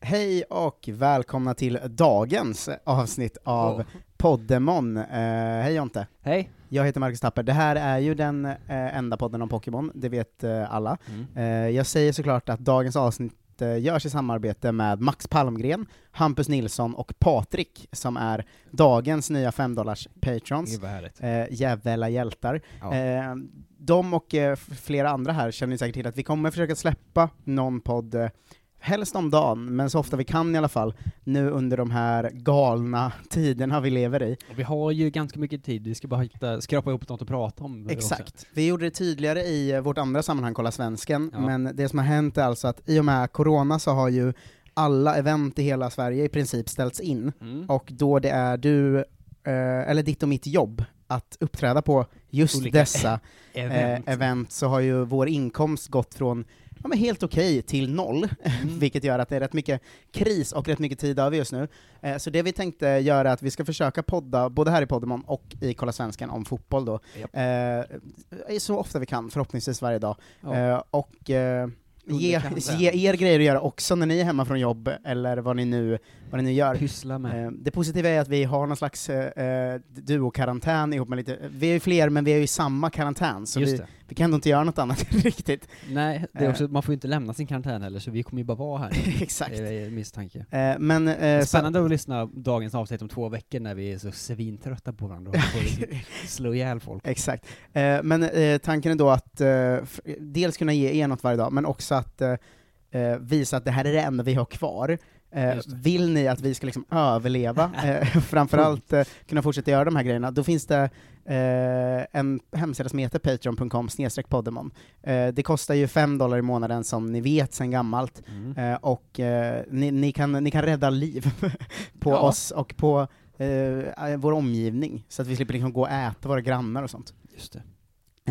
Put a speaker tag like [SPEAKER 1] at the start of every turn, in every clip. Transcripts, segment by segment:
[SPEAKER 1] Hej och välkomna till dagens avsnitt av
[SPEAKER 2] Åh.
[SPEAKER 1] Poddemon. Eh, hej Jonte.
[SPEAKER 2] Hej.
[SPEAKER 1] Jag heter Marcus Tapper. Det här är ju den eh, enda podden om Pokémon, det vet eh, alla.
[SPEAKER 2] Mm.
[SPEAKER 1] Eh, jag säger såklart att dagens avsnitt eh, görs i samarbete med Max Palmgren, Hampus Nilsson och Patrik, som är dagens nya 5 dollars patrons.
[SPEAKER 2] Gud vad härligt.
[SPEAKER 1] Eh, jävla hjältar.
[SPEAKER 2] Ja.
[SPEAKER 1] Eh, de och eh, f- flera andra här känner ni säkert till att vi kommer försöka släppa någon podd, eh, helst om dagen, men så ofta vi kan i alla fall, nu under de här galna tiderna vi lever i.
[SPEAKER 2] Och vi har ju ganska mycket tid, vi ska bara hitta, skrapa ihop något att prata om. Också.
[SPEAKER 1] Exakt. Vi gjorde det tydligare i eh, vårt andra sammanhang, Kolla Svensken,
[SPEAKER 2] Ja.
[SPEAKER 1] men det som har hänt är alltså att i och med corona så har ju alla event i hela Sverige i princip ställts in,
[SPEAKER 2] Mm.
[SPEAKER 1] och då det är du, eh, eller ditt och mitt jobb, att uppträda på just
[SPEAKER 2] Olika
[SPEAKER 1] dessa
[SPEAKER 2] Event.
[SPEAKER 1] event. Eh, event så har ju vår inkomst gått från ja, men helt okej till noll,
[SPEAKER 2] Mm.
[SPEAKER 1] vilket gör att det är rätt mycket kris och rätt mycket tid över just nu. Eh, så det vi tänkte göra är att vi ska försöka podda, både här i Poddemon och i Kolla Svenskan, om fotboll då.
[SPEAKER 2] Japp.
[SPEAKER 1] Eh, så ofta vi kan, förhoppningsvis varje dag.
[SPEAKER 2] Ja.
[SPEAKER 1] Eh, och eh, ge,
[SPEAKER 2] Underkanden.
[SPEAKER 1] ge er grejer att göra också när ni är hemma från jobb, eller vad ni nu, vad ni nu gör.
[SPEAKER 2] Pyssla med.
[SPEAKER 1] Eh, Det positiva är att vi har någon slags eh, eh, duo-karantän ihop med lite, vi är ju fler men vi är ju i samma karantän, så
[SPEAKER 2] Just
[SPEAKER 1] vi,
[SPEAKER 2] det.
[SPEAKER 1] vi kan ändå inte göra något annat riktigt.
[SPEAKER 2] Nej, det är
[SPEAKER 1] eh.
[SPEAKER 2] också, man får ju inte lämna sin karantän heller, så vi kommer ju bara vara här.
[SPEAKER 1] Exakt.
[SPEAKER 2] Det är misstanke.
[SPEAKER 1] Eh, men, eh, så-
[SPEAKER 2] Spännande att lyssna dagens avsnitt om två veckor när vi är så svintrötta på varandra och får liksom slå ihjäl folk.
[SPEAKER 1] Exakt. Eh, men eh, tanken är då att eh, f- dels kunna ge er något varje dag, men också att eh, eh, visa att det här är det enda vi har kvar. Eh,
[SPEAKER 2] Just det.
[SPEAKER 1] vill ni att vi ska liksom överleva, eh, framförallt eh, kunna fortsätta göra de här grejerna, då finns det eh, en hemsida som heter patreon.com poddemon. Eh, det kostar ju 5 dollar i månaden som ni vet sedan gammalt,
[SPEAKER 2] Mm.
[SPEAKER 1] eh, och eh, ni, ni, kan, ni kan rädda liv på
[SPEAKER 2] Ja.
[SPEAKER 1] oss och på eh, vår omgivning, så att vi slipper liksom gå och äta våra grannar och sånt.
[SPEAKER 2] Just det.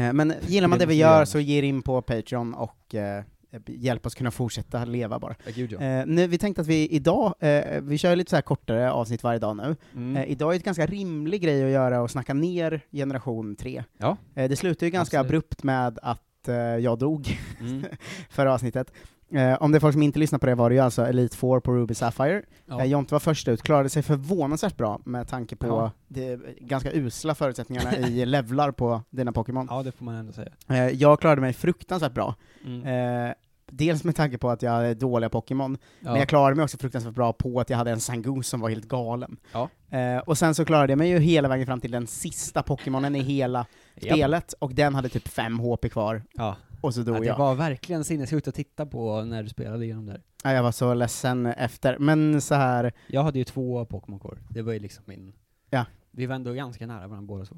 [SPEAKER 1] Eh, Men gillar man
[SPEAKER 2] Det
[SPEAKER 1] det vi
[SPEAKER 2] måste vi göra.
[SPEAKER 1] gör så ge er in på Patreon och eh, hjälp oss kunna fortsätta leva bara.
[SPEAKER 2] Ja, gud ja.
[SPEAKER 1] Eh, nu, vi tänkte att vi idag, eh, vi kör lite så här kortare avsnitt varje dag nu. Eh,
[SPEAKER 2] Mm.
[SPEAKER 1] idag är ett ganska rimlig grej att göra och snacka ner generation 3.
[SPEAKER 2] Ja.
[SPEAKER 1] Eh, det slutade ju ganska
[SPEAKER 2] Absolut.
[SPEAKER 1] abrupt med att eh, jag dog
[SPEAKER 2] Mm.
[SPEAKER 1] förra avsnittet. Eh, om det är folk som inte lyssnar på det var det ju alltså Elite 4 på Ruby Sapphire.
[SPEAKER 2] Ja.
[SPEAKER 1] Eh, Jonte var först ut, klarade sig förvånansvärt bra med tanke på
[SPEAKER 2] Ja.
[SPEAKER 1] de ganska usla förutsättningarna i levlar på dina Pokémon.
[SPEAKER 2] ja, det får man ändå säga.
[SPEAKER 1] Eh, Jag klarade mig fruktansvärt bra.
[SPEAKER 2] Mm.
[SPEAKER 1] Eh, Dels med tanke på att jag hade dåliga Pokémon, men
[SPEAKER 2] Ja.
[SPEAKER 1] jag klarade mig också fruktansvärt bra på att jag hade en Zangoose som var helt galen.
[SPEAKER 2] Ja.
[SPEAKER 1] Eh, och sen så klarade jag mig ju hela vägen fram till den sista Pokémonen i hela
[SPEAKER 2] Japp.
[SPEAKER 1] spelet, och den hade typ 5 HP kvar,
[SPEAKER 2] Ja.
[SPEAKER 1] och så
[SPEAKER 2] Ja,
[SPEAKER 1] dog
[SPEAKER 2] det
[SPEAKER 1] jag.
[SPEAKER 2] var verkligen sinnessjukt att titta på när du spelade igenom där.
[SPEAKER 1] Ja, jag var så ledsen efter, men så här
[SPEAKER 2] Jag hade ju två Pokémon Core, det var ju liksom min...
[SPEAKER 1] Ja.
[SPEAKER 2] Vi var ändå ganska nära varandra båda så.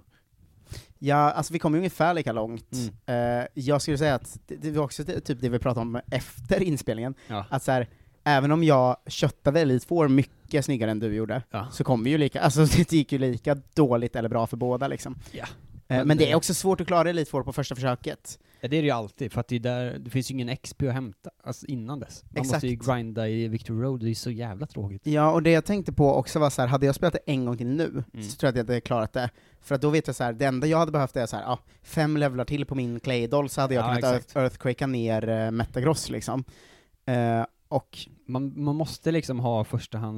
[SPEAKER 1] Ja, alltså vi kom ju ungefär lika långt. Eh, jag skulle säga att det, det var också det- typ det vi pratade om efter inspelningen,
[SPEAKER 2] Ja.
[SPEAKER 1] att så här, även om jag köttade Elite Four mycket snyggare än du gjorde,
[SPEAKER 2] Ja.
[SPEAKER 1] så kom vi ju lika, alltså det gick ju lika dåligt eller bra för båda liksom.
[SPEAKER 2] Ja.
[SPEAKER 1] Eh,
[SPEAKER 2] Men
[SPEAKER 1] men, det
[SPEAKER 2] det-
[SPEAKER 1] är också svårt att klara Elite Four på första försöket.
[SPEAKER 2] Ja, det är det ju alltid, för att det, är där, det finns ju ingen XP att hämta alltså innan dess. Man måste ju
[SPEAKER 1] Exakt.
[SPEAKER 2] grinda i Victor Road, det är ju så jävla tråkigt.
[SPEAKER 1] Ja, och det jag tänkte på också var så här, hade jag spelat det en gång till nu,
[SPEAKER 2] Mm.
[SPEAKER 1] så tror jag att jag hade klarat det. För att då vet jag så här, det enda jag hade behövt är så här, ja, fem levlar till på min Claydol så hade jag
[SPEAKER 2] Ja,
[SPEAKER 1] kunnat
[SPEAKER 2] exakt.
[SPEAKER 1] earth- earthquakea ner eh, Metagross liksom. Eh, och
[SPEAKER 2] Man, man måste liksom ha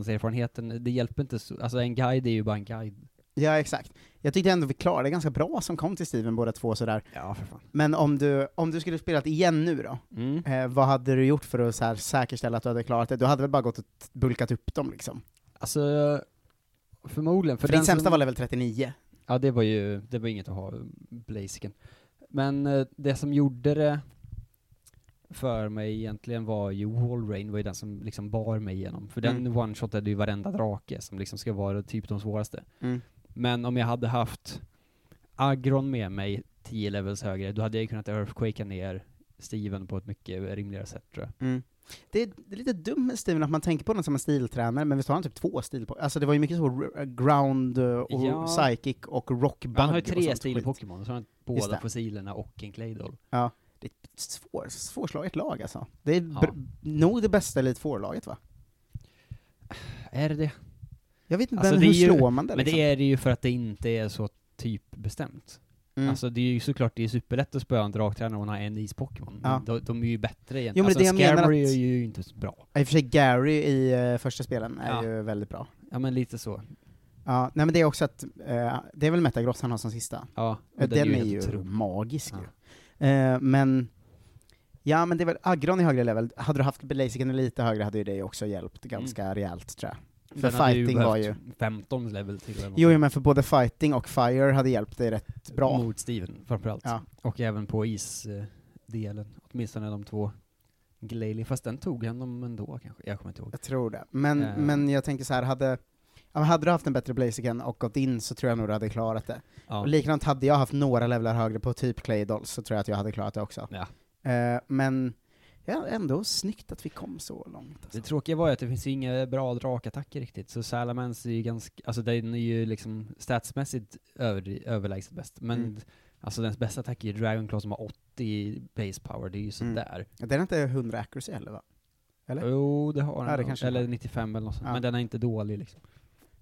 [SPEAKER 2] förstahandserfarenheten, det hjälper inte så, alltså en guide är ju bara en guide.
[SPEAKER 1] Ja, exakt. Jag tyckte ändå vi klarade det ganska bra som kom till Steven båda två sådär.
[SPEAKER 2] Ja, för fan.
[SPEAKER 1] Men om du, om du skulle spela det igen nu då,
[SPEAKER 2] Mm.
[SPEAKER 1] eh, vad hade du gjort för att så här säkerställa att du hade klarat det? Du hade väl bara gått och t- bulkat upp dem liksom?
[SPEAKER 2] Alltså, förmodligen.
[SPEAKER 1] För,
[SPEAKER 2] För,
[SPEAKER 1] din
[SPEAKER 2] den
[SPEAKER 1] sämsta
[SPEAKER 2] som,
[SPEAKER 1] var level 39.
[SPEAKER 2] Ja, det var ju, det var inget att ha, Blaziken. Men eh, det som gjorde det för mig egentligen var ju Wallrain var ju den som liksom bar mig igenom. För den
[SPEAKER 1] Mm.
[SPEAKER 2] one-shotade ju varenda drake som liksom ska vara typ de svåraste.
[SPEAKER 1] Mm.
[SPEAKER 2] Men om jag hade haft Agron med mig 10 levels högre, då hade jag ju kunnat earthquakea ner Steven på ett mycket rimligare sätt tror jag.
[SPEAKER 1] Det, är, det är lite dumt med Steven att man tänker på den som en stiltränare, men visst har han typ två stil på Alltså det var ju mycket så r- ground eh, och
[SPEAKER 2] Ja.
[SPEAKER 1] psychic och rock bug
[SPEAKER 2] Han har ju
[SPEAKER 1] och sånt
[SPEAKER 2] tre
[SPEAKER 1] skit.
[SPEAKER 2] stil-Pokémon, så han har
[SPEAKER 1] Just
[SPEAKER 2] båda
[SPEAKER 1] det.
[SPEAKER 2] fossilerna och en Claydol.
[SPEAKER 1] Det är ett svår, svårslaget lag alltså. Det är
[SPEAKER 2] Ja.
[SPEAKER 1] br- nog det bästa Elite Four-laget va?
[SPEAKER 2] Är det det?
[SPEAKER 1] Jag vet inte,
[SPEAKER 2] Alltså,
[SPEAKER 1] men
[SPEAKER 2] det
[SPEAKER 1] hur
[SPEAKER 2] är ju-
[SPEAKER 1] slår man det
[SPEAKER 2] Men
[SPEAKER 1] liksom?
[SPEAKER 2] det är det ju för att det inte är så typbestämt.
[SPEAKER 1] Mm.
[SPEAKER 2] Alltså det är ju såklart det är superlätt att spöa en dragtränare om man har en is-Pokémon.
[SPEAKER 1] Ja.
[SPEAKER 2] De, de är ju bättre egentligen.
[SPEAKER 1] Jo, men det är
[SPEAKER 2] alltså
[SPEAKER 1] det jag menar
[SPEAKER 2] Skarmory
[SPEAKER 1] att-
[SPEAKER 2] är ju inte så bra.
[SPEAKER 1] I och för sig Gary i eh, första spelen är
[SPEAKER 2] Ja.
[SPEAKER 1] ju väldigt bra.
[SPEAKER 2] Ja men lite så.
[SPEAKER 1] Ja, nej men det är också att, eh, det är väl Metagross han har som sista.
[SPEAKER 2] Ja, och
[SPEAKER 1] Den, är
[SPEAKER 2] helt
[SPEAKER 1] ju
[SPEAKER 2] otrolig.
[SPEAKER 1] magisk
[SPEAKER 2] Ja.
[SPEAKER 1] ju. Eh, men, ja men det är väl Aggron i högre level, hade du haft Blaziken lite högre hade ju det också hjälpt
[SPEAKER 2] Mm.
[SPEAKER 1] ganska rejält tror jag. För
[SPEAKER 2] Den hade
[SPEAKER 1] fighting var ju...
[SPEAKER 2] behövt 15 level till eller
[SPEAKER 1] Jo,
[SPEAKER 2] något.
[SPEAKER 1] jo, men för både fighting och fire hade hjälpt dig rätt bra.
[SPEAKER 2] Mot Steven framförallt.
[SPEAKER 1] Ja.
[SPEAKER 2] Och även på isdelen. Åtminstone de två Glalie. Fast den tog han dem ändå kanske. Jag kommer inte ihåg.
[SPEAKER 1] Jag tror det. Men,
[SPEAKER 2] Eh.
[SPEAKER 1] men jag tänker så här, hade, ja, men hade du haft en bättre Blaziken och gått in så tror jag nog du hade klarat det.
[SPEAKER 2] Ja.
[SPEAKER 1] Och likadant hade jag haft några levlar högre på typ Claydolls så tror jag att jag hade klarat det också.
[SPEAKER 2] Ja.
[SPEAKER 1] Eh, men ja, ändå snyggt att vi kom så långt. Alltså.
[SPEAKER 2] Det tråkiga var ju att det finns ju inga bra drakattacker riktigt, så Salamence är ju ganska, alltså den är ju liksom statsmässigt över, överlägset bäst, men
[SPEAKER 1] Mm.
[SPEAKER 2] alltså dens bästa attack är ju Dragonclaw som har 80 base power, det är ju sådär.
[SPEAKER 1] Den är inte 100 accuracy heller va? Mm. Eller?
[SPEAKER 2] Jo, det har
[SPEAKER 1] Ja, det
[SPEAKER 2] den, nog.
[SPEAKER 1] kanske den
[SPEAKER 2] eller
[SPEAKER 1] har.
[SPEAKER 2] 95 eller något sånt,
[SPEAKER 1] Ja.
[SPEAKER 2] men den är inte dålig liksom.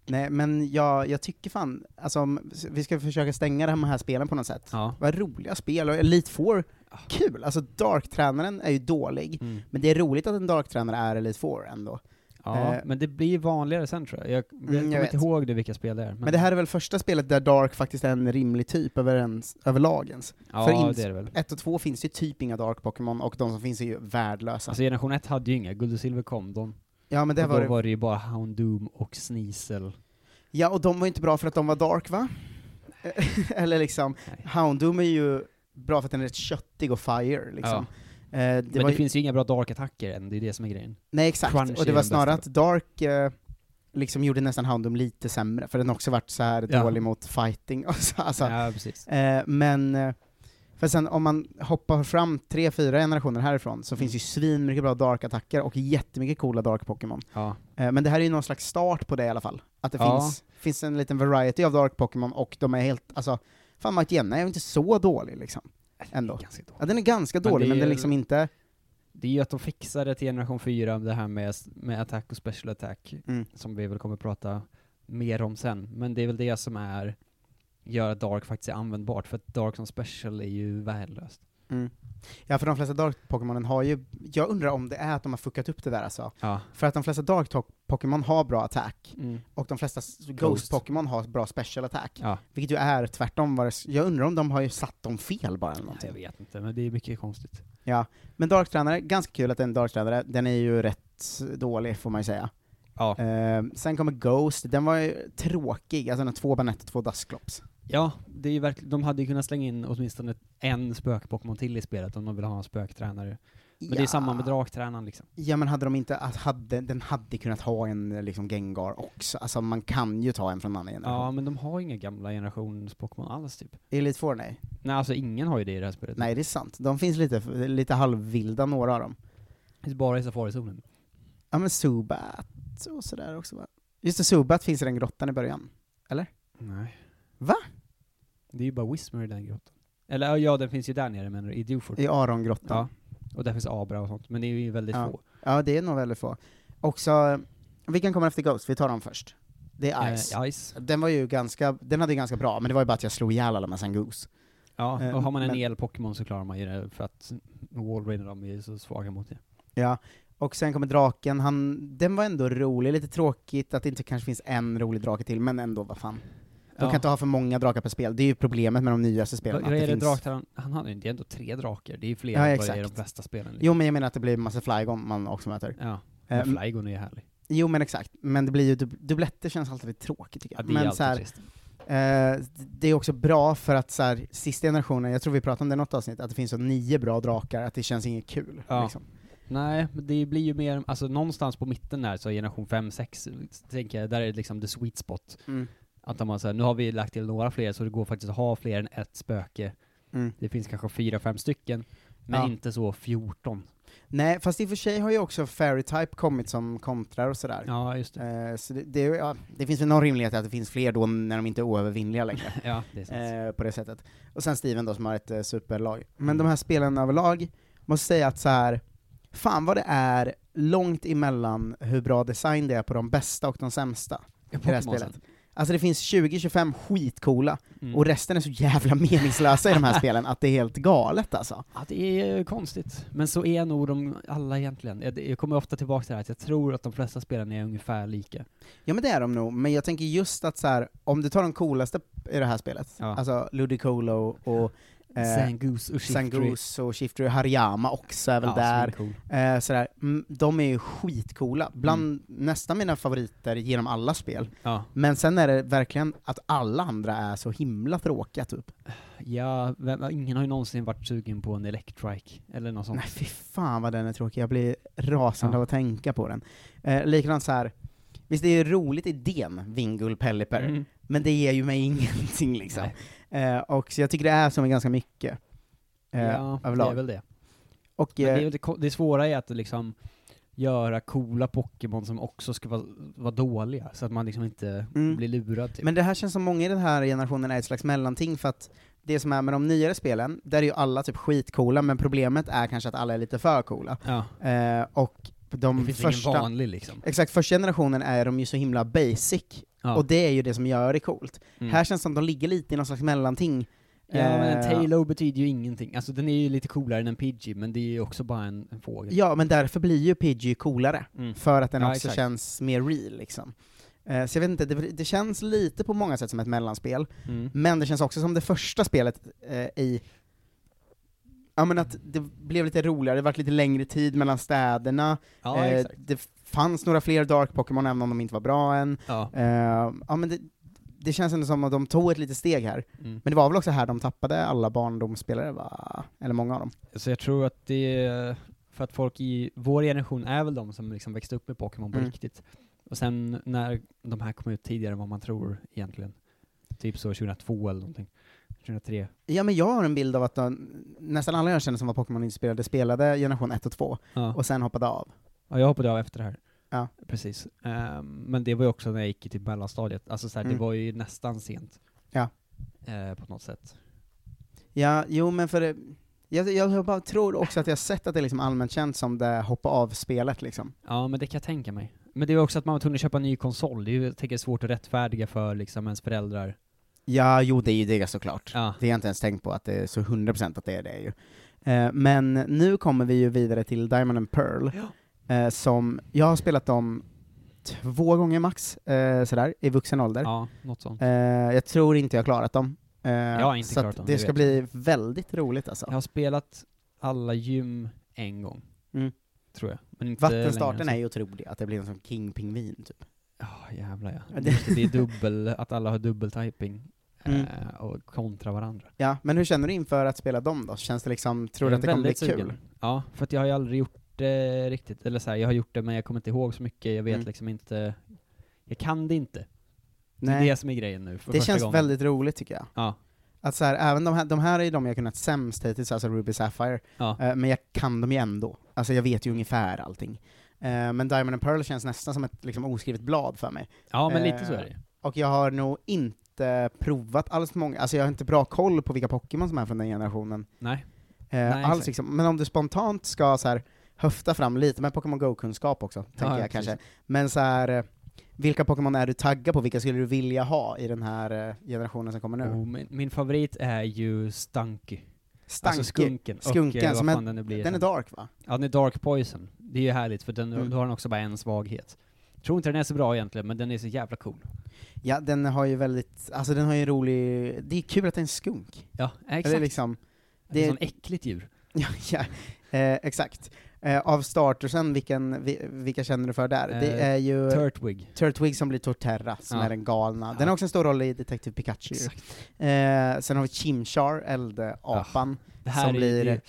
[SPEAKER 1] Nej, men jag, jag tycker fan, alltså om, vi ska försöka stänga de här spelen på något sätt.
[SPEAKER 2] Ja.
[SPEAKER 1] Vad roliga spel, och Elite Four,
[SPEAKER 2] Ja.
[SPEAKER 1] kul! Alltså Dark-tränaren är ju dålig,
[SPEAKER 2] Mm.
[SPEAKER 1] men det är roligt att en Dark-tränare är Elite Four ändå.
[SPEAKER 2] ja,
[SPEAKER 1] Eh. Mm,
[SPEAKER 2] men det blir vanligare sen tror jag. Jag, jag
[SPEAKER 1] jag
[SPEAKER 2] kommer
[SPEAKER 1] vet.
[SPEAKER 2] inte ihåg det, vilka spel det är. Men,
[SPEAKER 1] Men det här är väl första spelet där Dark faktiskt är en rimlig typ över, ens, över lagens.
[SPEAKER 2] ja,
[SPEAKER 1] för ins-
[SPEAKER 2] det är det väl.
[SPEAKER 1] Ett och två finns ju typ inga Dark-Pokémon, och de som finns är ju värdelösa.
[SPEAKER 2] Alltså generation 1 hade ju inga, guld och silver kom de.
[SPEAKER 1] ja, men det
[SPEAKER 2] och
[SPEAKER 1] var
[SPEAKER 2] då
[SPEAKER 1] det.
[SPEAKER 2] var det ju bara Houndoom och Sneasel.
[SPEAKER 1] Ja, och de var ju inte bra för att de var Dark, va? Eller liksom,
[SPEAKER 2] Nej.
[SPEAKER 1] Houndoom är ju bra för att den är rätt köttig och fire, liksom. Eh, det
[SPEAKER 2] men
[SPEAKER 1] var
[SPEAKER 2] det
[SPEAKER 1] ju,
[SPEAKER 2] finns ju inga bra dark-attacker än, det är det som är grejen.
[SPEAKER 1] nej, exakt.
[SPEAKER 2] Crunch
[SPEAKER 1] Och det var
[SPEAKER 2] är den
[SPEAKER 1] snarare att
[SPEAKER 2] bästa.
[SPEAKER 1] Dark eh, liksom gjorde nästan Houndoom lite sämre, för den har också varit så här
[SPEAKER 2] Ja.
[SPEAKER 1] dålig mot fighting. Och så, alltså,
[SPEAKER 2] Ja, precis.
[SPEAKER 1] Eh, men, eh, för sen om man hoppar fram tre, fyra generationer härifrån
[SPEAKER 2] Mm.
[SPEAKER 1] så finns ju svinmycket bra dark-attacker och jättemycket coola dark-Pokémon.
[SPEAKER 2] Ja.
[SPEAKER 1] Eh, men det här är ju någon slags start på det i alla fall. Att det
[SPEAKER 2] Ja.
[SPEAKER 1] finns, finns en liten variety av dark-Pokémon och de är helt, alltså, fan Mike Jenna är ju inte så dålig liksom. Ändå.
[SPEAKER 2] Det är ganska dåligt.
[SPEAKER 1] Ja, den är ganska
[SPEAKER 2] Men
[SPEAKER 1] dålig,
[SPEAKER 2] det
[SPEAKER 1] men
[SPEAKER 2] är-
[SPEAKER 1] den är liksom inte...
[SPEAKER 2] Det är ju att de fixade till generation 4, det här med, med attack och special attack,
[SPEAKER 1] Mm.
[SPEAKER 2] som vi väl kommer prata mer om sen. Men det är väl det som är, gör att Dark faktiskt är användbart, för att Dark som special är ju värdelöst.
[SPEAKER 1] Mm. Ja, för de flesta dark-Pokémonen har ju... Jag undrar om det är att de har fuckat upp det där alltså.
[SPEAKER 2] Ja.
[SPEAKER 1] För att de flesta dark-Pokémon har bra attack,
[SPEAKER 2] Mm.
[SPEAKER 1] och de flesta s- ghost-Pokémon har bra special attack.
[SPEAKER 2] Ja.
[SPEAKER 1] Vilket ju är tvärtom vad det, Jag undrar om de har ju satt dem fel bara eller
[SPEAKER 2] Jag
[SPEAKER 1] någonting.
[SPEAKER 2] vet inte, men det är mycket konstigt.
[SPEAKER 1] Men Dark-tränare, ganska kul att det är en Dark-tränare, den är ju rätt dålig får man ju säga.
[SPEAKER 2] Ja.
[SPEAKER 1] Eh, sen kommer Ghost, den var ju tråkig, alltså den har två Banett och två Dusclops.
[SPEAKER 2] ja, det är ju verkligen, de hade ju kunnat slänga in åtminstone en spök-Pokémon till i spelet om de vill ha en spöktränare. Men det är samma med draktränaren liksom.
[SPEAKER 1] Ja men hade de inte, att hade, den hade kunnat ha en eh, liksom Gengar också, alltså man kan ju ta en från en annan generation.
[SPEAKER 2] Ja, men de har inga gamla generations Pokémon alls typ.
[SPEAKER 1] Elite Four, nej.
[SPEAKER 2] Nej, alltså ingen har ju det i det här spelet.
[SPEAKER 1] Nej det är sant, de finns lite, lite halvvilda några av dem.
[SPEAKER 2] Det finns bara i safarizonen.
[SPEAKER 1] Ja men Zubat och sådär också va? Just det, Zubat finns i den grottan i början.
[SPEAKER 2] Nej.
[SPEAKER 1] Va?
[SPEAKER 2] Det är ju bara Whismer i den grottan. Eller ja, den finns ju där nere menar du, i Dewford.
[SPEAKER 1] I Arongrottan.
[SPEAKER 2] Ja. Och där finns Abra och sånt, men det är ju väldigt
[SPEAKER 1] Ja.
[SPEAKER 2] få.
[SPEAKER 1] Ja, det är nog väldigt få. Också, vilken kommer efter Ghost? Vi tar dem först. Det är Ice.
[SPEAKER 2] Eh, Ice.
[SPEAKER 1] Den var ju ganska, den hade ju ganska bra, men det var ju bara att jag slog ihjäl alla med Sangoose.
[SPEAKER 2] Ja,
[SPEAKER 1] Eh,
[SPEAKER 2] och har man en
[SPEAKER 1] men-
[SPEAKER 2] el-Pokémon så klarar man ju det, för att Wallrain och de är ju så svaga mot det.
[SPEAKER 1] Ja. Och sen kommer draken, han, den var ändå rolig, lite tråkigt att det inte kanske finns en rolig drake till, men ändå, vad fan. De kan inte ha för många drakar per spel, det är ju problemet med de nyaste spelen.
[SPEAKER 2] Vad
[SPEAKER 1] att
[SPEAKER 2] är det
[SPEAKER 1] finns-
[SPEAKER 2] draktränaren? Han hade ju det är ändå tre drakar, det är ju fler
[SPEAKER 1] Ja,
[SPEAKER 2] än vad det är i
[SPEAKER 1] exakt.
[SPEAKER 2] de flesta spelen. Liksom.
[SPEAKER 1] Jo men jag menar att det blir en massa flygon man också möter.
[SPEAKER 2] Ja,
[SPEAKER 1] Eh,
[SPEAKER 2] men Flygon är ju härlig.
[SPEAKER 1] jo men exakt, men det blir ju, dub- dubbletter känns alltid lite tråkigt tycker
[SPEAKER 2] Ja,
[SPEAKER 1] jag.
[SPEAKER 2] det är
[SPEAKER 1] men
[SPEAKER 2] alltid
[SPEAKER 1] så här,
[SPEAKER 2] trist.
[SPEAKER 1] Eh, det är också bra för att så här, sista generationen, jag tror vi pratade om det i något avsnitt, att det finns så nio bra drakar, att det känns inget kul.
[SPEAKER 2] Ja.
[SPEAKER 1] Liksom.
[SPEAKER 2] Nej, men det blir ju mer, alltså någonstans på mitten där så generation 5, 6, tänker jag, där är det liksom the sweet spot.
[SPEAKER 1] Mm.
[SPEAKER 2] Att om man säger, nu har vi lagt till några fler så det går faktiskt att ha fler än ett spöke.
[SPEAKER 1] Mm.
[SPEAKER 2] Det finns kanske fyra, fem stycken, men
[SPEAKER 1] Ja.
[SPEAKER 2] inte så 14.
[SPEAKER 1] Nej, fast i och för sig har ju också Fairy-type kommit som kontrar och sådär.
[SPEAKER 2] Ja, just det.
[SPEAKER 1] Eh, så det, det, är ju- ja, det finns väl någon rimlighet att det finns fler då när de inte är oövervinnliga längre.
[SPEAKER 2] Ja, det är sant.
[SPEAKER 1] eh, på det sättet. Och sen Steven då som har ett eh, superlag. Men
[SPEAKER 2] Mm.
[SPEAKER 1] de här spelen överlag, måste säga att så här, fan vad det är långt emellan hur bra design det är på de bästa och de sämsta.
[SPEAKER 2] Ja,
[SPEAKER 1] i det här
[SPEAKER 2] Pokémon
[SPEAKER 1] spelet.
[SPEAKER 2] sen.
[SPEAKER 1] Alltså det finns 20-25 skitcoola,
[SPEAKER 2] Mm.
[SPEAKER 1] och resten är så jävla meningslösa i de här spelen att det är helt galet alltså.
[SPEAKER 2] Ja, det är konstigt. Men så är nog de alla egentligen. Jag, jag kommer ofta tillbaka till det här att jag tror att de flesta spelarna är ungefär lika.
[SPEAKER 1] Ja men det är de nog, men jag tänker just att så här, om du tar de coolaste i det här spelet,
[SPEAKER 2] Ja.
[SPEAKER 1] alltså Ludicolo och eh,
[SPEAKER 2] Zangoose och Shiftry.
[SPEAKER 1] Sangus och Shifter och Hariyama också är väl
[SPEAKER 2] Ja, som är
[SPEAKER 1] där.
[SPEAKER 2] cool.
[SPEAKER 1] Eh, sådär. Mm, de är ju skitcoola, bland
[SPEAKER 2] Mm.
[SPEAKER 1] nästan mina favoriter genom alla spel.
[SPEAKER 2] Ja.
[SPEAKER 1] Men sen är det verkligen att alla andra är så himla tråkiga typ.
[SPEAKER 2] ja, vem, ingen har ju någonsin varit sugen på en Electrike eller något sånt.
[SPEAKER 1] Nej fy fan vad den är tråkig, jag blir rasande
[SPEAKER 2] Ja.
[SPEAKER 1] av att tänka på den. Eh, likadant så här. visst det är ju roligt idén, Vingul Pelliper,
[SPEAKER 2] Mm.
[SPEAKER 1] men det ger ju mig ingenting liksom. Eh, och så jag tycker det är som ganska mycket. Eh,
[SPEAKER 2] ja, det
[SPEAKER 1] överlag.
[SPEAKER 2] är väl det.
[SPEAKER 1] Och,
[SPEAKER 2] Men
[SPEAKER 1] eh,
[SPEAKER 2] det, är- det, ko- det svåra är att liksom göra coola Pokémon som också ska vara, vara dåliga, så att man liksom inte
[SPEAKER 1] Mm.
[SPEAKER 2] blir lurad. Typ.
[SPEAKER 1] Men det här känns som många i den här generationen är ett slags mellanting för att det som är med de nyare spelen, där är ju alla typ skitcoola, men problemet är kanske att alla är lite för coola.
[SPEAKER 2] ja,
[SPEAKER 1] Eh, och
[SPEAKER 2] det
[SPEAKER 1] de
[SPEAKER 2] finns ingen
[SPEAKER 1] första...
[SPEAKER 2] vanlig liksom.
[SPEAKER 1] Exakt, första generationen är de ju så himla basic,
[SPEAKER 2] Ja.
[SPEAKER 1] och det är ju det som gör det coolt.
[SPEAKER 2] Mm.
[SPEAKER 1] Här känns det som de ligger lite i någon slags mellanting.
[SPEAKER 2] Ja, men en
[SPEAKER 1] Eh,
[SPEAKER 2] Tailo betyder ju ingenting. Alltså den är ju lite coolare än en Pidgey, men det är ju också bara en, en fågel.
[SPEAKER 1] Ja, men därför blir ju Pidgey coolare,
[SPEAKER 2] Mm.
[SPEAKER 1] för att den
[SPEAKER 2] Ja,
[SPEAKER 1] också
[SPEAKER 2] exakt.
[SPEAKER 1] känns mer real liksom. Eh, Så jag vet inte, det, det känns lite på många sätt som ett mellanspel,
[SPEAKER 2] Mm.
[SPEAKER 1] Men det känns också som det första spelet eh, i... Ja men att det blev lite roligare, det vart lite längre tid mellan städerna,
[SPEAKER 2] Ja,
[SPEAKER 1] eh,
[SPEAKER 2] exakt.
[SPEAKER 1] det fanns några fler Dark Pokémon även om de inte var bra än.
[SPEAKER 2] Ja.
[SPEAKER 1] Eh, ja men det, det känns ändå som att de tog ett litet steg här.
[SPEAKER 2] Mm.
[SPEAKER 1] Men det var väl också här de tappade alla barndomsspelare va? Eller många av dem.
[SPEAKER 2] Så jag tror att det är, för att folk i vår generation är väl de som liksom växte upp med Pokémon på
[SPEAKER 1] Mm.
[SPEAKER 2] riktigt. Och sen när de här kom ut tidigare än vad man tror egentligen. Typ så 2002 eller någonting. 2003.
[SPEAKER 1] Ja men jag har en bild av att de, nästan alla jag känner som var Pokémon-inspirerade spelade generation 1 och 2,
[SPEAKER 2] Ja.
[SPEAKER 1] och sen hoppade av.
[SPEAKER 2] Ja, jag hoppade av efter det här.
[SPEAKER 1] Ja.
[SPEAKER 2] Precis. Ehm, men det var ju också när jag gick till mellanstadiet. Alltså så här,
[SPEAKER 1] Mm.
[SPEAKER 2] det var ju nästan sent.
[SPEAKER 1] Ja.
[SPEAKER 2] Eh, på något sätt.
[SPEAKER 1] Ja, jo men för det, jag, jag bara tror också att jag har sett att det är liksom allmänt känt som det hoppa av-spelet liksom.
[SPEAKER 2] Ja, men det kan jag tänka mig. Men det var också att man var tvungen att köpa en ny konsol. Det är ju, jag tänker, svårt att rättfärdiga för liksom ens föräldrar.
[SPEAKER 1] Ja, jo det är ju det såklart.
[SPEAKER 2] Ja.
[SPEAKER 1] Det har jag inte ens tänkt på att det är så 100% att det är det ju. Eh, men nu kommer vi ju vidare till Diamond and Pearl, eh, som jag har spelat dem två gånger max, eh, sådär, i vuxen ålder.
[SPEAKER 2] Ja, något sånt.
[SPEAKER 1] Eh, jag tror inte jag har klarat dem. Eh,
[SPEAKER 2] Jag har inte
[SPEAKER 1] så att
[SPEAKER 2] klarat dem,
[SPEAKER 1] det
[SPEAKER 2] det
[SPEAKER 1] ska
[SPEAKER 2] vet
[SPEAKER 1] bli väldigt roligt alltså.
[SPEAKER 2] Jag har spelat alla gym en gång.
[SPEAKER 1] Mm.
[SPEAKER 2] Tror jag. Men inte
[SPEAKER 1] Vattenstarten är
[SPEAKER 2] längre
[SPEAKER 1] ju otrolig, att det blir en sån king-pingvin typ.
[SPEAKER 2] än så. Ja, jävlar
[SPEAKER 1] Ja,
[SPEAKER 2] ja.
[SPEAKER 1] det-
[SPEAKER 2] Just det, det är dubbel, att alla har dubbeltyping.
[SPEAKER 1] Mm.
[SPEAKER 2] eh, Och kontra varandra.
[SPEAKER 1] Ja, men hur känner du inför att spela dem då? Känns det liksom, tror du
[SPEAKER 2] Jag
[SPEAKER 1] att det
[SPEAKER 2] är
[SPEAKER 1] kommer bli
[SPEAKER 2] väldigt sugen.
[SPEAKER 1] kul?
[SPEAKER 2] Ja, för att jag har ju aldrig gjort det riktigt. Eller så här, jag har gjort det men jag kommer inte ihåg så mycket, jag vet
[SPEAKER 1] Mm.
[SPEAKER 2] liksom inte... Jag kan det inte. Det är
[SPEAKER 1] Nej,
[SPEAKER 2] det som är grejen nu för
[SPEAKER 1] det
[SPEAKER 2] första
[SPEAKER 1] känns
[SPEAKER 2] gången.
[SPEAKER 1] väldigt roligt tycker jag.
[SPEAKER 2] Ja.
[SPEAKER 1] Att så här, även de här, de här är ju de jag kunnat sämst hittills, alltså Ruby Sapphire,
[SPEAKER 2] Ja.
[SPEAKER 1] Eh, men jag kan dem ju ändå. Alltså jag vet ju ungefär allting. Eh, men Diamond and Pearl känns nästan som ett liksom, oskrivet blad för mig.
[SPEAKER 2] ja, men lite
[SPEAKER 1] eh,
[SPEAKER 2] så är det ju.
[SPEAKER 1] Och jag har nog inte provat alls många, alltså jag har inte bra koll på vilka Pokémon som är från den generationen.
[SPEAKER 2] Nej.
[SPEAKER 1] Eh, alls
[SPEAKER 2] exakt.
[SPEAKER 1] liksom. Men om du spontant ska så här, höfta fram lite med Pokémon Go-kunskap också, tänker
[SPEAKER 2] ja,
[SPEAKER 1] jag
[SPEAKER 2] precis.
[SPEAKER 1] kanske. Men så här, eh, vilka Pokémon är du taggad på? Vilka skulle du vilja ha i den här eh, generationen som kommer nu?
[SPEAKER 2] Och min, min favorit är ju Stunky.
[SPEAKER 1] Stanky.
[SPEAKER 2] Alltså skunken.
[SPEAKER 1] Skunken
[SPEAKER 2] och, eh, vad
[SPEAKER 1] som är-
[SPEAKER 2] fan den nu blir.
[SPEAKER 1] den är dark va?
[SPEAKER 2] Ja, den är Dark Poison. Det är ju härligt för den,
[SPEAKER 1] Mm.
[SPEAKER 2] då har den också bara en svaghet. Jag tror inte den är så bra egentligen, men den är så jävla cool.
[SPEAKER 1] Ja, den har ju väldigt, alltså den har ju en rolig, det är kul att det är en skunk.
[SPEAKER 2] Ja, exakt.
[SPEAKER 1] Eller
[SPEAKER 2] Det är,
[SPEAKER 1] liksom,
[SPEAKER 2] det
[SPEAKER 1] det-
[SPEAKER 2] är sån äckligt djur.
[SPEAKER 1] ja, ja eh, exakt. Eh, av startersen, vilken, vi, vilka känner du för där? det
[SPEAKER 2] Eh,
[SPEAKER 1] är ju
[SPEAKER 2] Turtwig.
[SPEAKER 1] Turtwig som blir Torterra, som
[SPEAKER 2] Ja.
[SPEAKER 1] är den galna. Den
[SPEAKER 2] Ja.
[SPEAKER 1] har också en stor roll i Detective Pikachu. Eh, sen har vi Chimchar, eldapan.
[SPEAKER 2] Det här
[SPEAKER 1] som
[SPEAKER 2] är,
[SPEAKER 1] blir-
[SPEAKER 2] blir... är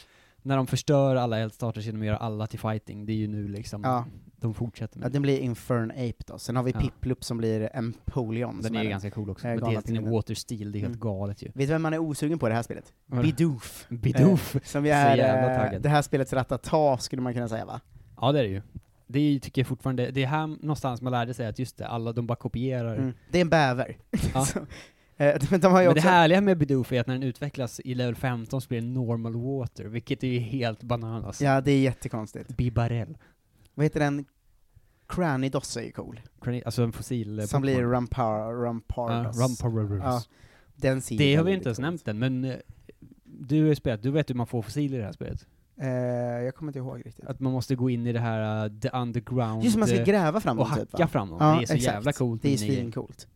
[SPEAKER 2] när de förstör alla eldstarters genom att göra alla till fighting, det är ju nu liksom,
[SPEAKER 1] Ja.
[SPEAKER 2] de fortsätter
[SPEAKER 1] Ja.
[SPEAKER 2] med det.
[SPEAKER 1] den blir Infernape då. Sen har vi
[SPEAKER 2] Ja.
[SPEAKER 1] Piplup som blir Empoleon.
[SPEAKER 2] Den
[SPEAKER 1] som
[SPEAKER 2] är ju ganska cool också,
[SPEAKER 1] eh,
[SPEAKER 2] men det
[SPEAKER 1] galna
[SPEAKER 2] är en
[SPEAKER 1] tingen.
[SPEAKER 2] water steel, det är helt
[SPEAKER 1] Mm.
[SPEAKER 2] galet ju.
[SPEAKER 1] Vet du vem man är osugen på i det här spelet? Bidoof.
[SPEAKER 2] Bidoof!
[SPEAKER 1] Som ju
[SPEAKER 2] Så
[SPEAKER 1] är
[SPEAKER 2] jävla
[SPEAKER 1] eh,
[SPEAKER 2] taggad.
[SPEAKER 1] det här spelets ratata, skulle man kunna säga va?
[SPEAKER 2] Ja det är det ju. Det är, ju, tycker jag fortfarande, det är här någonstans man lärde sig att just det, alla de bara kopierar.
[SPEAKER 1] Mm. Det är en bäver.
[SPEAKER 2] Ja.
[SPEAKER 1] Så, eh, de, de har ju
[SPEAKER 2] Men
[SPEAKER 1] också...
[SPEAKER 2] det härliga med Bidoof är att när den utvecklas i level 15 så blir det normal water, vilket är ju helt bananas.
[SPEAKER 1] Ja, det är jättekonstigt.
[SPEAKER 2] Bibarell.
[SPEAKER 1] Vad heter den? Cranny Dossa är ju cool.
[SPEAKER 2] Crani- Alltså en fossil... eh,
[SPEAKER 1] Som
[SPEAKER 2] popcorn.
[SPEAKER 1] blir Rampar, Rampardos.
[SPEAKER 2] Ja, Rumparurus.
[SPEAKER 1] Ja, den ser
[SPEAKER 2] Det har vi
[SPEAKER 1] väldigt
[SPEAKER 2] inte ens
[SPEAKER 1] cool ut.
[SPEAKER 2] nämnt än, men eh, du har ju spelat, du vet hur man får fossil i det här spelet?
[SPEAKER 1] Eh, jag kommer inte ihåg riktigt.
[SPEAKER 2] Att man måste gå in i det här eh, the underground
[SPEAKER 1] Just det, man ska
[SPEAKER 2] eh,
[SPEAKER 1] gräva fram
[SPEAKER 2] och
[SPEAKER 1] dem
[SPEAKER 2] hacka
[SPEAKER 1] typ va?
[SPEAKER 2] fram dem.
[SPEAKER 1] Ja,
[SPEAKER 2] det är så
[SPEAKER 1] exakt.
[SPEAKER 2] jävla coolt.
[SPEAKER 1] Det är
[SPEAKER 2] inne i-
[SPEAKER 1] svincoolt.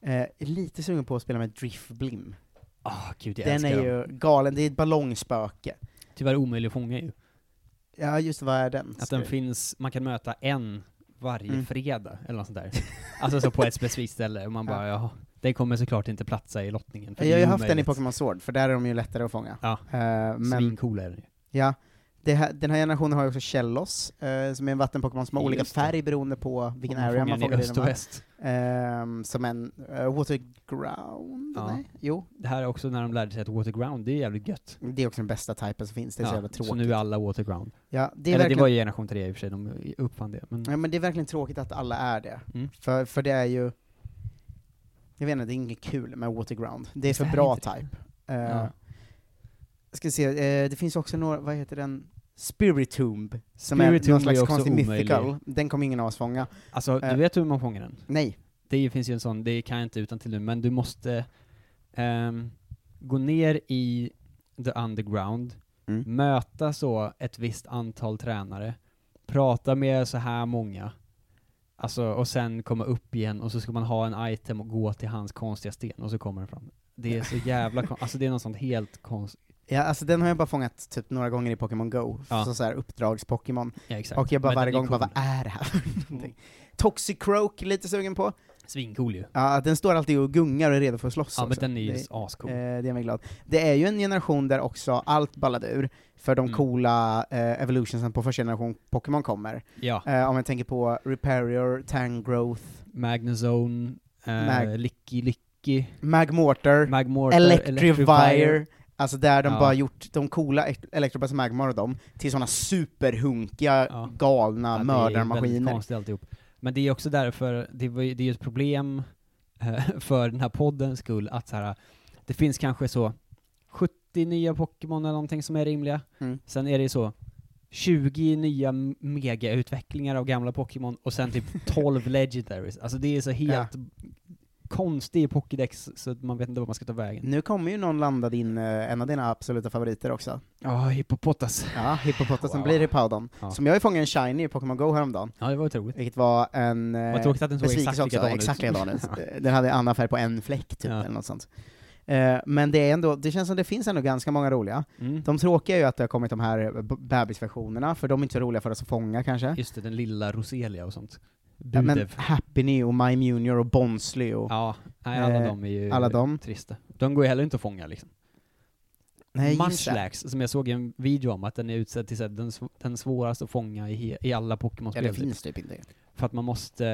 [SPEAKER 1] Eh, jag är lite sugen på att spela med Drift Blim.
[SPEAKER 2] Ah, gud, jag
[SPEAKER 1] Den
[SPEAKER 2] älskar
[SPEAKER 1] är
[SPEAKER 2] dem.
[SPEAKER 1] ju galen, det är ett ballongspöke.
[SPEAKER 2] Tyvärr omöjlig att fånga ju.
[SPEAKER 1] Ja just vad är den?
[SPEAKER 2] Att den finns, man kan möta en varje
[SPEAKER 1] Mm.
[SPEAKER 2] fredag, eller något sånt där. alltså så på ett specifikt ställe, och man bara ja. den kommer såklart inte platsa i lottningen. för
[SPEAKER 1] jag har
[SPEAKER 2] det
[SPEAKER 1] ju
[SPEAKER 2] är
[SPEAKER 1] haft den i
[SPEAKER 2] omöjligt.
[SPEAKER 1] Pokémon Sword, för där är de ju lättare att fånga.
[SPEAKER 2] Ja.
[SPEAKER 1] Eh, men
[SPEAKER 2] Svincool är den ju.
[SPEAKER 1] ja, det här, den här generationen har ju också Shellos, eh, som är en vattenpokémon som har olika
[SPEAKER 2] Just det.
[SPEAKER 1] färg beroende på vilken
[SPEAKER 2] Man
[SPEAKER 1] area man
[SPEAKER 2] den i
[SPEAKER 1] fångar i
[SPEAKER 2] öst
[SPEAKER 1] den
[SPEAKER 2] och
[SPEAKER 1] med.
[SPEAKER 2] väst.
[SPEAKER 1] Ehm, som en uh, Waterground?
[SPEAKER 2] Ja.
[SPEAKER 1] Nej? Jo,
[SPEAKER 2] Det här är också när de lärde sig att Waterground, det är jävligt gött.
[SPEAKER 1] det är också den bästa typen som finns, det är så
[SPEAKER 2] Ja,
[SPEAKER 1] jävla
[SPEAKER 2] Så
[SPEAKER 1] tråkigt.
[SPEAKER 2] nu är alla Waterground.
[SPEAKER 1] Ja, det är
[SPEAKER 2] Eller det
[SPEAKER 1] verkligen
[SPEAKER 2] var ju generation 3 i och för sig, de uppfann det. Men
[SPEAKER 1] Ja men det är verkligen tråkigt att alla är det.
[SPEAKER 2] Mm.
[SPEAKER 1] För, för det är ju, jag vet inte, det är inget kul med Waterground. Det är för
[SPEAKER 2] Det är
[SPEAKER 1] bra
[SPEAKER 2] inte det.
[SPEAKER 1] type. Uh,
[SPEAKER 2] Ja.
[SPEAKER 1] Ska se, eh, det finns också några, vad heter den? Spiritomb, som är
[SPEAKER 2] Spiritomb
[SPEAKER 1] någon
[SPEAKER 2] är
[SPEAKER 1] slags
[SPEAKER 2] också
[SPEAKER 1] konstig
[SPEAKER 2] omöjlig.
[SPEAKER 1] mythical. Den kommer ingen av oss fånga.
[SPEAKER 2] alltså,
[SPEAKER 1] Eh.
[SPEAKER 2] du vet hur man fångar den?
[SPEAKER 1] Nej.
[SPEAKER 2] Det finns ju en sån, det kan jag inte utan till nu, men du måste ehm, gå ner i the underground,
[SPEAKER 1] Mm.
[SPEAKER 2] möta så ett visst antal tränare, prata med så här många, alltså, och sen komma upp igen, och så ska man ha en item och gå till hans konstiga sten, och så kommer den fram. Det är så jävla kon- alltså det är något sånt helt konstigt.
[SPEAKER 1] Ja, alltså den har jag bara fångat typ några gånger i Pokémon Go,
[SPEAKER 2] Ja.
[SPEAKER 1] som så här uppdrags-Pokémon.
[SPEAKER 2] Ja, exakt.
[SPEAKER 1] Och jag bara
[SPEAKER 2] Men
[SPEAKER 1] varje
[SPEAKER 2] den är
[SPEAKER 1] gång bara, vad
[SPEAKER 2] cool.
[SPEAKER 1] är det här för någonting? Toxicroak, lite sugen på.
[SPEAKER 2] Svincool ju.
[SPEAKER 1] Ja, den står alltid och gungar och är redo för att slåss
[SPEAKER 2] Ja men
[SPEAKER 1] också.
[SPEAKER 2] den är ju
[SPEAKER 1] Det-
[SPEAKER 2] ascool.
[SPEAKER 1] Eh, det är mig glad. Det är ju en generation där också allt ballade ur, för de
[SPEAKER 2] Mm.
[SPEAKER 1] coola eh, evolutionsen på första generation Pokémon kommer.
[SPEAKER 2] Ja.
[SPEAKER 1] Eh, om jag tänker på Reparior, Tangrowth,
[SPEAKER 2] Magnezone, eh,
[SPEAKER 1] Mag-
[SPEAKER 2] Licky Licky,
[SPEAKER 1] Magmortar,
[SPEAKER 2] Magmortar,
[SPEAKER 1] Electrivire, alltså där de
[SPEAKER 2] Ja.
[SPEAKER 1] bara gjort de coola ek- Electrobus Magmar och dem till sådana superhunkiga,
[SPEAKER 2] Ja.
[SPEAKER 1] galna
[SPEAKER 2] Ja, Det är väldigt
[SPEAKER 1] mördarmaskiner.
[SPEAKER 2] konstigt alltihop. Men det är också därför, det, var ju- det är ju ett problem eh, för den här poddens skull att så här, det finns kanske så 70 nya Pokémon eller någonting som är rimliga.
[SPEAKER 1] Mm.
[SPEAKER 2] Sen är det ju så 20 nya m- megautvecklingar av gamla Pokémon och sen typ 12 legendaries. Alltså det är så helt konstig Pokédex så att man vet inte vad man ska ta vägen.
[SPEAKER 1] Nu kommer ju någon landa din, eh, en av dina absoluta favoriter också.
[SPEAKER 2] Ja, hippopotas.
[SPEAKER 1] Ja, hippopotasen
[SPEAKER 2] Wow.
[SPEAKER 1] blir Hippowdon.
[SPEAKER 2] Ja.
[SPEAKER 1] Som jag ju fångade en shiny i Pokémon Go häromdagen,
[SPEAKER 2] Ja, det var otroligt.
[SPEAKER 1] vilket var en... eh,
[SPEAKER 2] Vad tråkigt att den såg exakt
[SPEAKER 1] Besvikelse också,
[SPEAKER 2] likadan ut.
[SPEAKER 1] exakt likadan ut. Den hade annan färg på en fläck typ,
[SPEAKER 2] Ja.
[SPEAKER 1] eller något sånt. Eh, Men det är ändå, det känns som det finns ändå ganska många roliga.
[SPEAKER 2] Mm.
[SPEAKER 1] De tråkiga är ju att det har kommit de här b- bebisversionerna, för de är inte så roliga för oss att fånga kanske.
[SPEAKER 2] Just det, den lilla Roselia och sånt.
[SPEAKER 1] Ja, men
[SPEAKER 2] Budev.
[SPEAKER 1] Happiny och My Junior och Bonsley och
[SPEAKER 2] Ja, nej, alla
[SPEAKER 1] Eh,
[SPEAKER 2] de är ju
[SPEAKER 1] alla de.
[SPEAKER 2] trista. De går ju heller inte att fånga liksom.
[SPEAKER 1] Nej, just det.
[SPEAKER 2] Munchlax, som jag såg i en video om, att den är utsedd till så här, den, sv- den svåraste att fånga i, he- i alla
[SPEAKER 1] Ja,
[SPEAKER 2] Pokémon-spel.
[SPEAKER 1] det
[SPEAKER 2] typ.
[SPEAKER 1] finns typ inte.
[SPEAKER 2] För att man måste,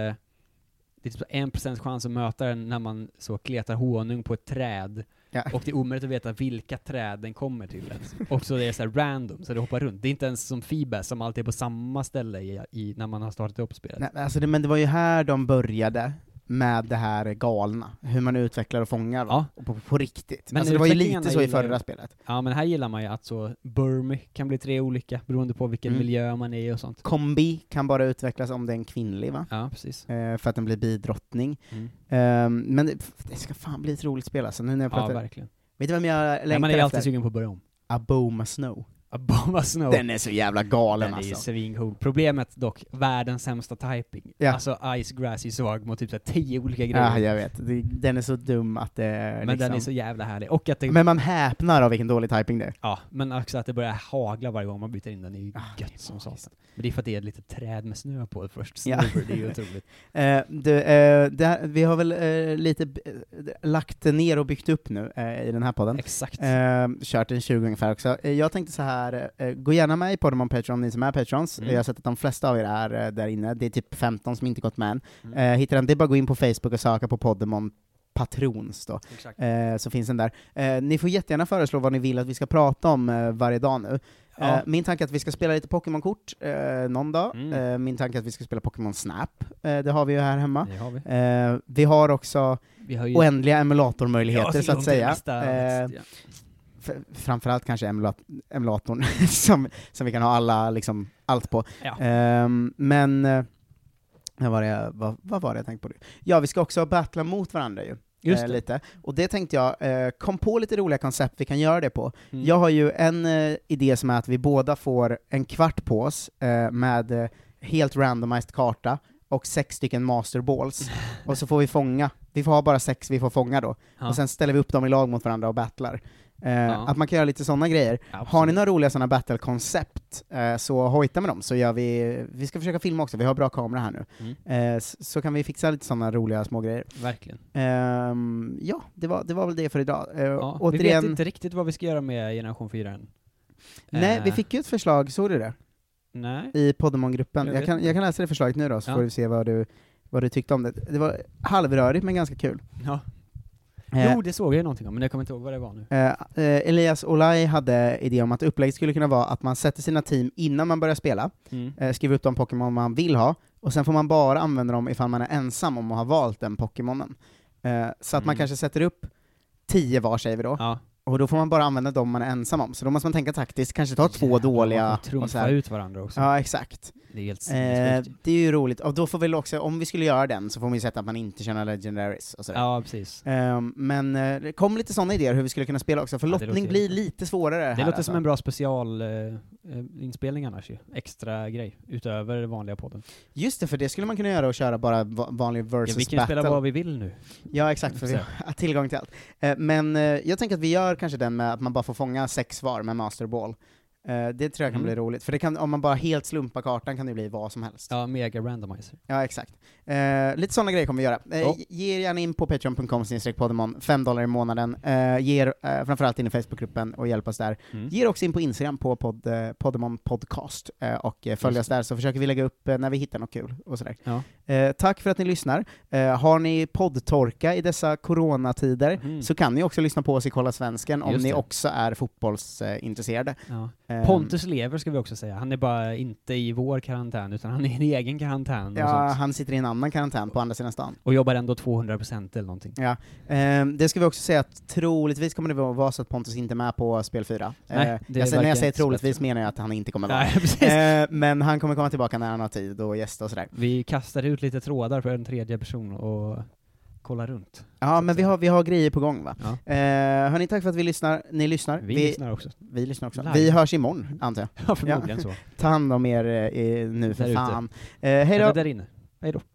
[SPEAKER 2] det är typ en procents chans att möta den när man så kletar honung på ett träd,
[SPEAKER 1] Ja.
[SPEAKER 2] och det är omöjligt att veta vilka träd den kommer till ens. Och så är det så här random, så det hoppar runt. Det är inte ens som Fibas som alltid är på samma ställe i, i, när man har startat upp spelet.
[SPEAKER 1] Nej, alltså det, men det var ju här de började med det här galna, hur man utvecklar och fångar
[SPEAKER 2] Ja.
[SPEAKER 1] och på, på riktigt.
[SPEAKER 2] Men
[SPEAKER 1] alltså det var ju
[SPEAKER 2] utvecklingarna
[SPEAKER 1] lite så i
[SPEAKER 2] gillar jag.
[SPEAKER 1] förra spelet.
[SPEAKER 2] Ja men här gillar man ju att så Burmy kan bli tre olika beroende på vilken
[SPEAKER 1] Mm.
[SPEAKER 2] miljö man är i och sånt.
[SPEAKER 1] Kombi kan bara utvecklas om det är en kvinnlig va?
[SPEAKER 2] Ja precis.
[SPEAKER 1] Eh, för att den blir bidrottning.
[SPEAKER 2] Mm.
[SPEAKER 1] Ehm, men det, pff, det ska fan bli ett roligt spel alltså, nu när jag
[SPEAKER 2] Ja
[SPEAKER 1] pratar.
[SPEAKER 2] verkligen.
[SPEAKER 1] Vet du vem jag
[SPEAKER 2] Nej,
[SPEAKER 1] längtar
[SPEAKER 2] man är ju alltid
[SPEAKER 1] efter?
[SPEAKER 2] sugen på att börja om.
[SPEAKER 1] Aboma Snow.
[SPEAKER 2] Abomba Snow.
[SPEAKER 1] Den är så jävla galen
[SPEAKER 2] Den är ju
[SPEAKER 1] alltså.
[SPEAKER 2] svincool. Problemet dock, världens sämsta typing.
[SPEAKER 1] Ja.
[SPEAKER 2] Alltså Ice Grass är ju svag mot typ så här tio olika grejer.
[SPEAKER 1] Ja, Ah, jag vet. Det- Den är så dum att det är
[SPEAKER 2] men
[SPEAKER 1] liksom...
[SPEAKER 2] den är så jävla härlig. Och att det,
[SPEAKER 1] Men man häpnar av vilken dålig typing det är.
[SPEAKER 2] ja, men också att det börjar hagla varje gång man byter in den är ju
[SPEAKER 1] Ah, det är
[SPEAKER 2] gött som
[SPEAKER 1] magiskt.
[SPEAKER 2] satan. Men det är för att det är lite träd med snö på först.
[SPEAKER 1] Ja.
[SPEAKER 2] Snöver, det är ju otroligt.
[SPEAKER 1] Eh, det, eh, det här, vi har väl eh, lite b- eh, lagt ner och byggt upp nu eh, i den här podden.
[SPEAKER 2] Exakt.
[SPEAKER 1] Eh, kört en 20 ungefär också. Eh, jag tänkte så här, eh, gå gärna med i podden om Patreon, ni som är Patrons.
[SPEAKER 2] Mm.
[SPEAKER 1] Jag har sett att de flesta av er är eh, där inne, det är typ 15 som inte gått med än.
[SPEAKER 2] Mm.
[SPEAKER 1] Eh, hittar den, det är bara att gå in på Facebook och söka på podden om Patrons då.
[SPEAKER 2] Exakt.
[SPEAKER 1] Eh, så finns den där. Eh, ni får jättegärna föreslå vad ni vill att vi ska prata om eh, varje dag nu.
[SPEAKER 2] Ja.
[SPEAKER 1] Eh, min tanke är att vi ska spela lite Pokémon-kort eh, någon dag.
[SPEAKER 2] Mm.
[SPEAKER 1] Eh, min tanke är att vi ska spela Pokémon Snap, eh, det har vi ju här hemma.
[SPEAKER 2] Det har vi.
[SPEAKER 1] Eh, vi har också
[SPEAKER 2] Vi har ju
[SPEAKER 1] oändliga
[SPEAKER 2] Ja,
[SPEAKER 1] emulatormöjligheter så att
[SPEAKER 2] tillgång till
[SPEAKER 1] säga.
[SPEAKER 2] nästa-
[SPEAKER 1] Eh, f- framförallt kanske emulat- emulatorn som, som vi kan ha alla, liksom, allt på.
[SPEAKER 2] Ja.
[SPEAKER 1] Ehm, men eh, Vad var, det, jag- vad, vad var det jag tänkte på? Ja, vi ska också battla mot varandra ju.
[SPEAKER 2] Just
[SPEAKER 1] eh,
[SPEAKER 2] det.
[SPEAKER 1] lite. Och det tänkte jag, eh, kom på lite roliga koncept vi kan göra det på.
[SPEAKER 2] Mm.
[SPEAKER 1] Jag har ju en eh, idé som är att vi båda får en kvart på oss eh, med eh, helt randomized karta och sex stycken masterballs. och så får vi fånga, vi får ha bara sex vi får fånga då.
[SPEAKER 2] Ja.
[SPEAKER 1] Och sen ställer vi upp dem i lag mot varandra och battlar. Eh,
[SPEAKER 2] Ja.
[SPEAKER 1] Att man kan göra lite sådana grejer. Har ni
[SPEAKER 2] Absolut.
[SPEAKER 1] några roliga sådana battle-koncept, eh, så hojta med dem, så gör vi, vi ska försöka filma också, vi har bra kamera här nu.
[SPEAKER 2] Mm.
[SPEAKER 1] Eh, s- så kan vi fixa lite sådana roliga små grejer.
[SPEAKER 2] Verkligen.
[SPEAKER 1] Ehm, ja, det var, det var väl det för idag. Eh,
[SPEAKER 2] Ja. Vi vet
[SPEAKER 1] återigen,
[SPEAKER 2] inte riktigt vad vi ska göra med generation 4 än.
[SPEAKER 1] nej,
[SPEAKER 2] Eh,
[SPEAKER 1] vi fick ju ett förslag, såg du det?
[SPEAKER 2] Nej.
[SPEAKER 1] I Poddemon-gruppen.
[SPEAKER 2] Jag
[SPEAKER 1] Jag,
[SPEAKER 2] vet
[SPEAKER 1] kan, jag kan läsa det förslaget nu då, så
[SPEAKER 2] Ja.
[SPEAKER 1] får vi se vad du, vad du tyckte om det. Det var halvrörigt men ganska kul.
[SPEAKER 2] Ja.
[SPEAKER 1] Eh,
[SPEAKER 2] Jo, det såg jag ju någonting om, men jag kommer inte ihåg vad det var nu.
[SPEAKER 1] Eh, eh, Elias Olaj hade idé om att upplägget skulle kunna vara att man sätter sina team innan man börjar spela,
[SPEAKER 2] Mm.
[SPEAKER 1] eh, skriver upp de Pokémon man vill ha, och sen får man bara använda dem ifall man är ensam om att ha valt den Pokémonen. Eh, så att man
[SPEAKER 2] Mm.
[SPEAKER 1] kanske sätter upp tio var säger vi då,
[SPEAKER 2] Ja.
[SPEAKER 1] och då får man bara använda dem man är ensam om. Så då måste man tänka taktiskt, kanske ta två dåliga och så
[SPEAKER 2] Trumfa
[SPEAKER 1] här.
[SPEAKER 2] ut varandra också.
[SPEAKER 1] Ja, exakt.
[SPEAKER 2] Det är helt
[SPEAKER 1] Eh,
[SPEAKER 2] sinnessjukt.
[SPEAKER 1] det är ju roligt, och då får vi också, om vi skulle göra den, så får vi sätta att man inte känner legendaries och sådär.
[SPEAKER 2] Ja, precis.
[SPEAKER 1] Ehm, men eh, det kom lite sådana idéer hur vi skulle kunna spela också, för
[SPEAKER 2] Ja, det
[SPEAKER 1] lottning
[SPEAKER 2] låter-
[SPEAKER 1] blir lite svårare här
[SPEAKER 2] Det låter
[SPEAKER 1] alltså.
[SPEAKER 2] som en bra specialinspelning annars ju. Extra grej, utöver det vanliga podden.
[SPEAKER 1] Just det, för det skulle man kunna göra och köra bara va- vanlig
[SPEAKER 2] Ja, vi
[SPEAKER 1] versus
[SPEAKER 2] kan ju spela
[SPEAKER 1] battle.
[SPEAKER 2] vad vi vill nu.
[SPEAKER 1] Ja, exakt, för vi har tillgång till allt. Eh, men eh, jag tänker att vi gör kanske den med att man bara får fånga sex var med masterball. Eh, det tror jag kan
[SPEAKER 2] Mm.
[SPEAKER 1] bli roligt, för det kan, om man bara helt slumpar kartan kan det bli vad som helst.
[SPEAKER 2] Ja, mega randomizer.
[SPEAKER 1] Ja, exakt. Eh, lite sådana grejer kommer vi göra. Eh,
[SPEAKER 2] Ja.
[SPEAKER 1] Ge er gärna in på patreon.com poddemon, 5 dollar i månaden. Eh, ge er eh, framförallt in i Facebookgruppen och hjälp oss där.
[SPEAKER 2] Mm.
[SPEAKER 1] Ge er också in på Instagram på pod, eh, Poddemon Podcast eh, och eh, följ
[SPEAKER 2] Just
[SPEAKER 1] oss där så försöker vi lägga upp eh, när vi hittar något kul och sådär.
[SPEAKER 2] Ja.
[SPEAKER 1] Eh, tack för att ni lyssnar. Eh, har ni poddtorka i dessa coronatider
[SPEAKER 2] Mm.
[SPEAKER 1] så kan ni också lyssna på oss i Kolla Svensken om
[SPEAKER 2] Just
[SPEAKER 1] ni
[SPEAKER 2] det.
[SPEAKER 1] också är fotbollsintresserade.
[SPEAKER 2] Ja.
[SPEAKER 1] Eh,
[SPEAKER 2] Pontus lever ska vi också säga. Han är bara inte i vår karantän, utan han är i en egen karantän och,
[SPEAKER 1] ja,
[SPEAKER 2] sånt.
[SPEAKER 1] han sitter i en annan karantän på andra sidan stan.
[SPEAKER 2] och jobbar ändå 200% eller någonting.
[SPEAKER 1] Eh, det ska vi också säga att troligtvis kommer det vara så att Pontus inte är med på spel 4.
[SPEAKER 2] Nej,
[SPEAKER 1] eh,
[SPEAKER 2] det
[SPEAKER 1] jag, säger- när
[SPEAKER 2] verkar
[SPEAKER 1] jag säger
[SPEAKER 2] inte så
[SPEAKER 1] troligtvis
[SPEAKER 2] bättre.
[SPEAKER 1] menar jag att han inte kommer vara
[SPEAKER 2] Nej, precis.
[SPEAKER 1] med. Eh, men han kommer komma tillbaka när han har tid och gästa och sådär.
[SPEAKER 2] Vi kastar ut lite trådar för en tredje person och kollar runt.
[SPEAKER 1] Ja, men vi har, vi har grejer på gång va?
[SPEAKER 2] Ja.
[SPEAKER 1] Eh, hörni, tack för att vi lyssnar. Ni lyssnar.
[SPEAKER 2] Vi, lyssnar också.
[SPEAKER 1] vi lyssnar också.
[SPEAKER 2] Live.
[SPEAKER 1] Vi hörs imorgon, antar jag.
[SPEAKER 2] Ja, förmodligen så.
[SPEAKER 1] Ta hand om er eh, nu för
[SPEAKER 2] Där ute.
[SPEAKER 1] fan. Eh, hej då!
[SPEAKER 2] Eller där inne. Hej då.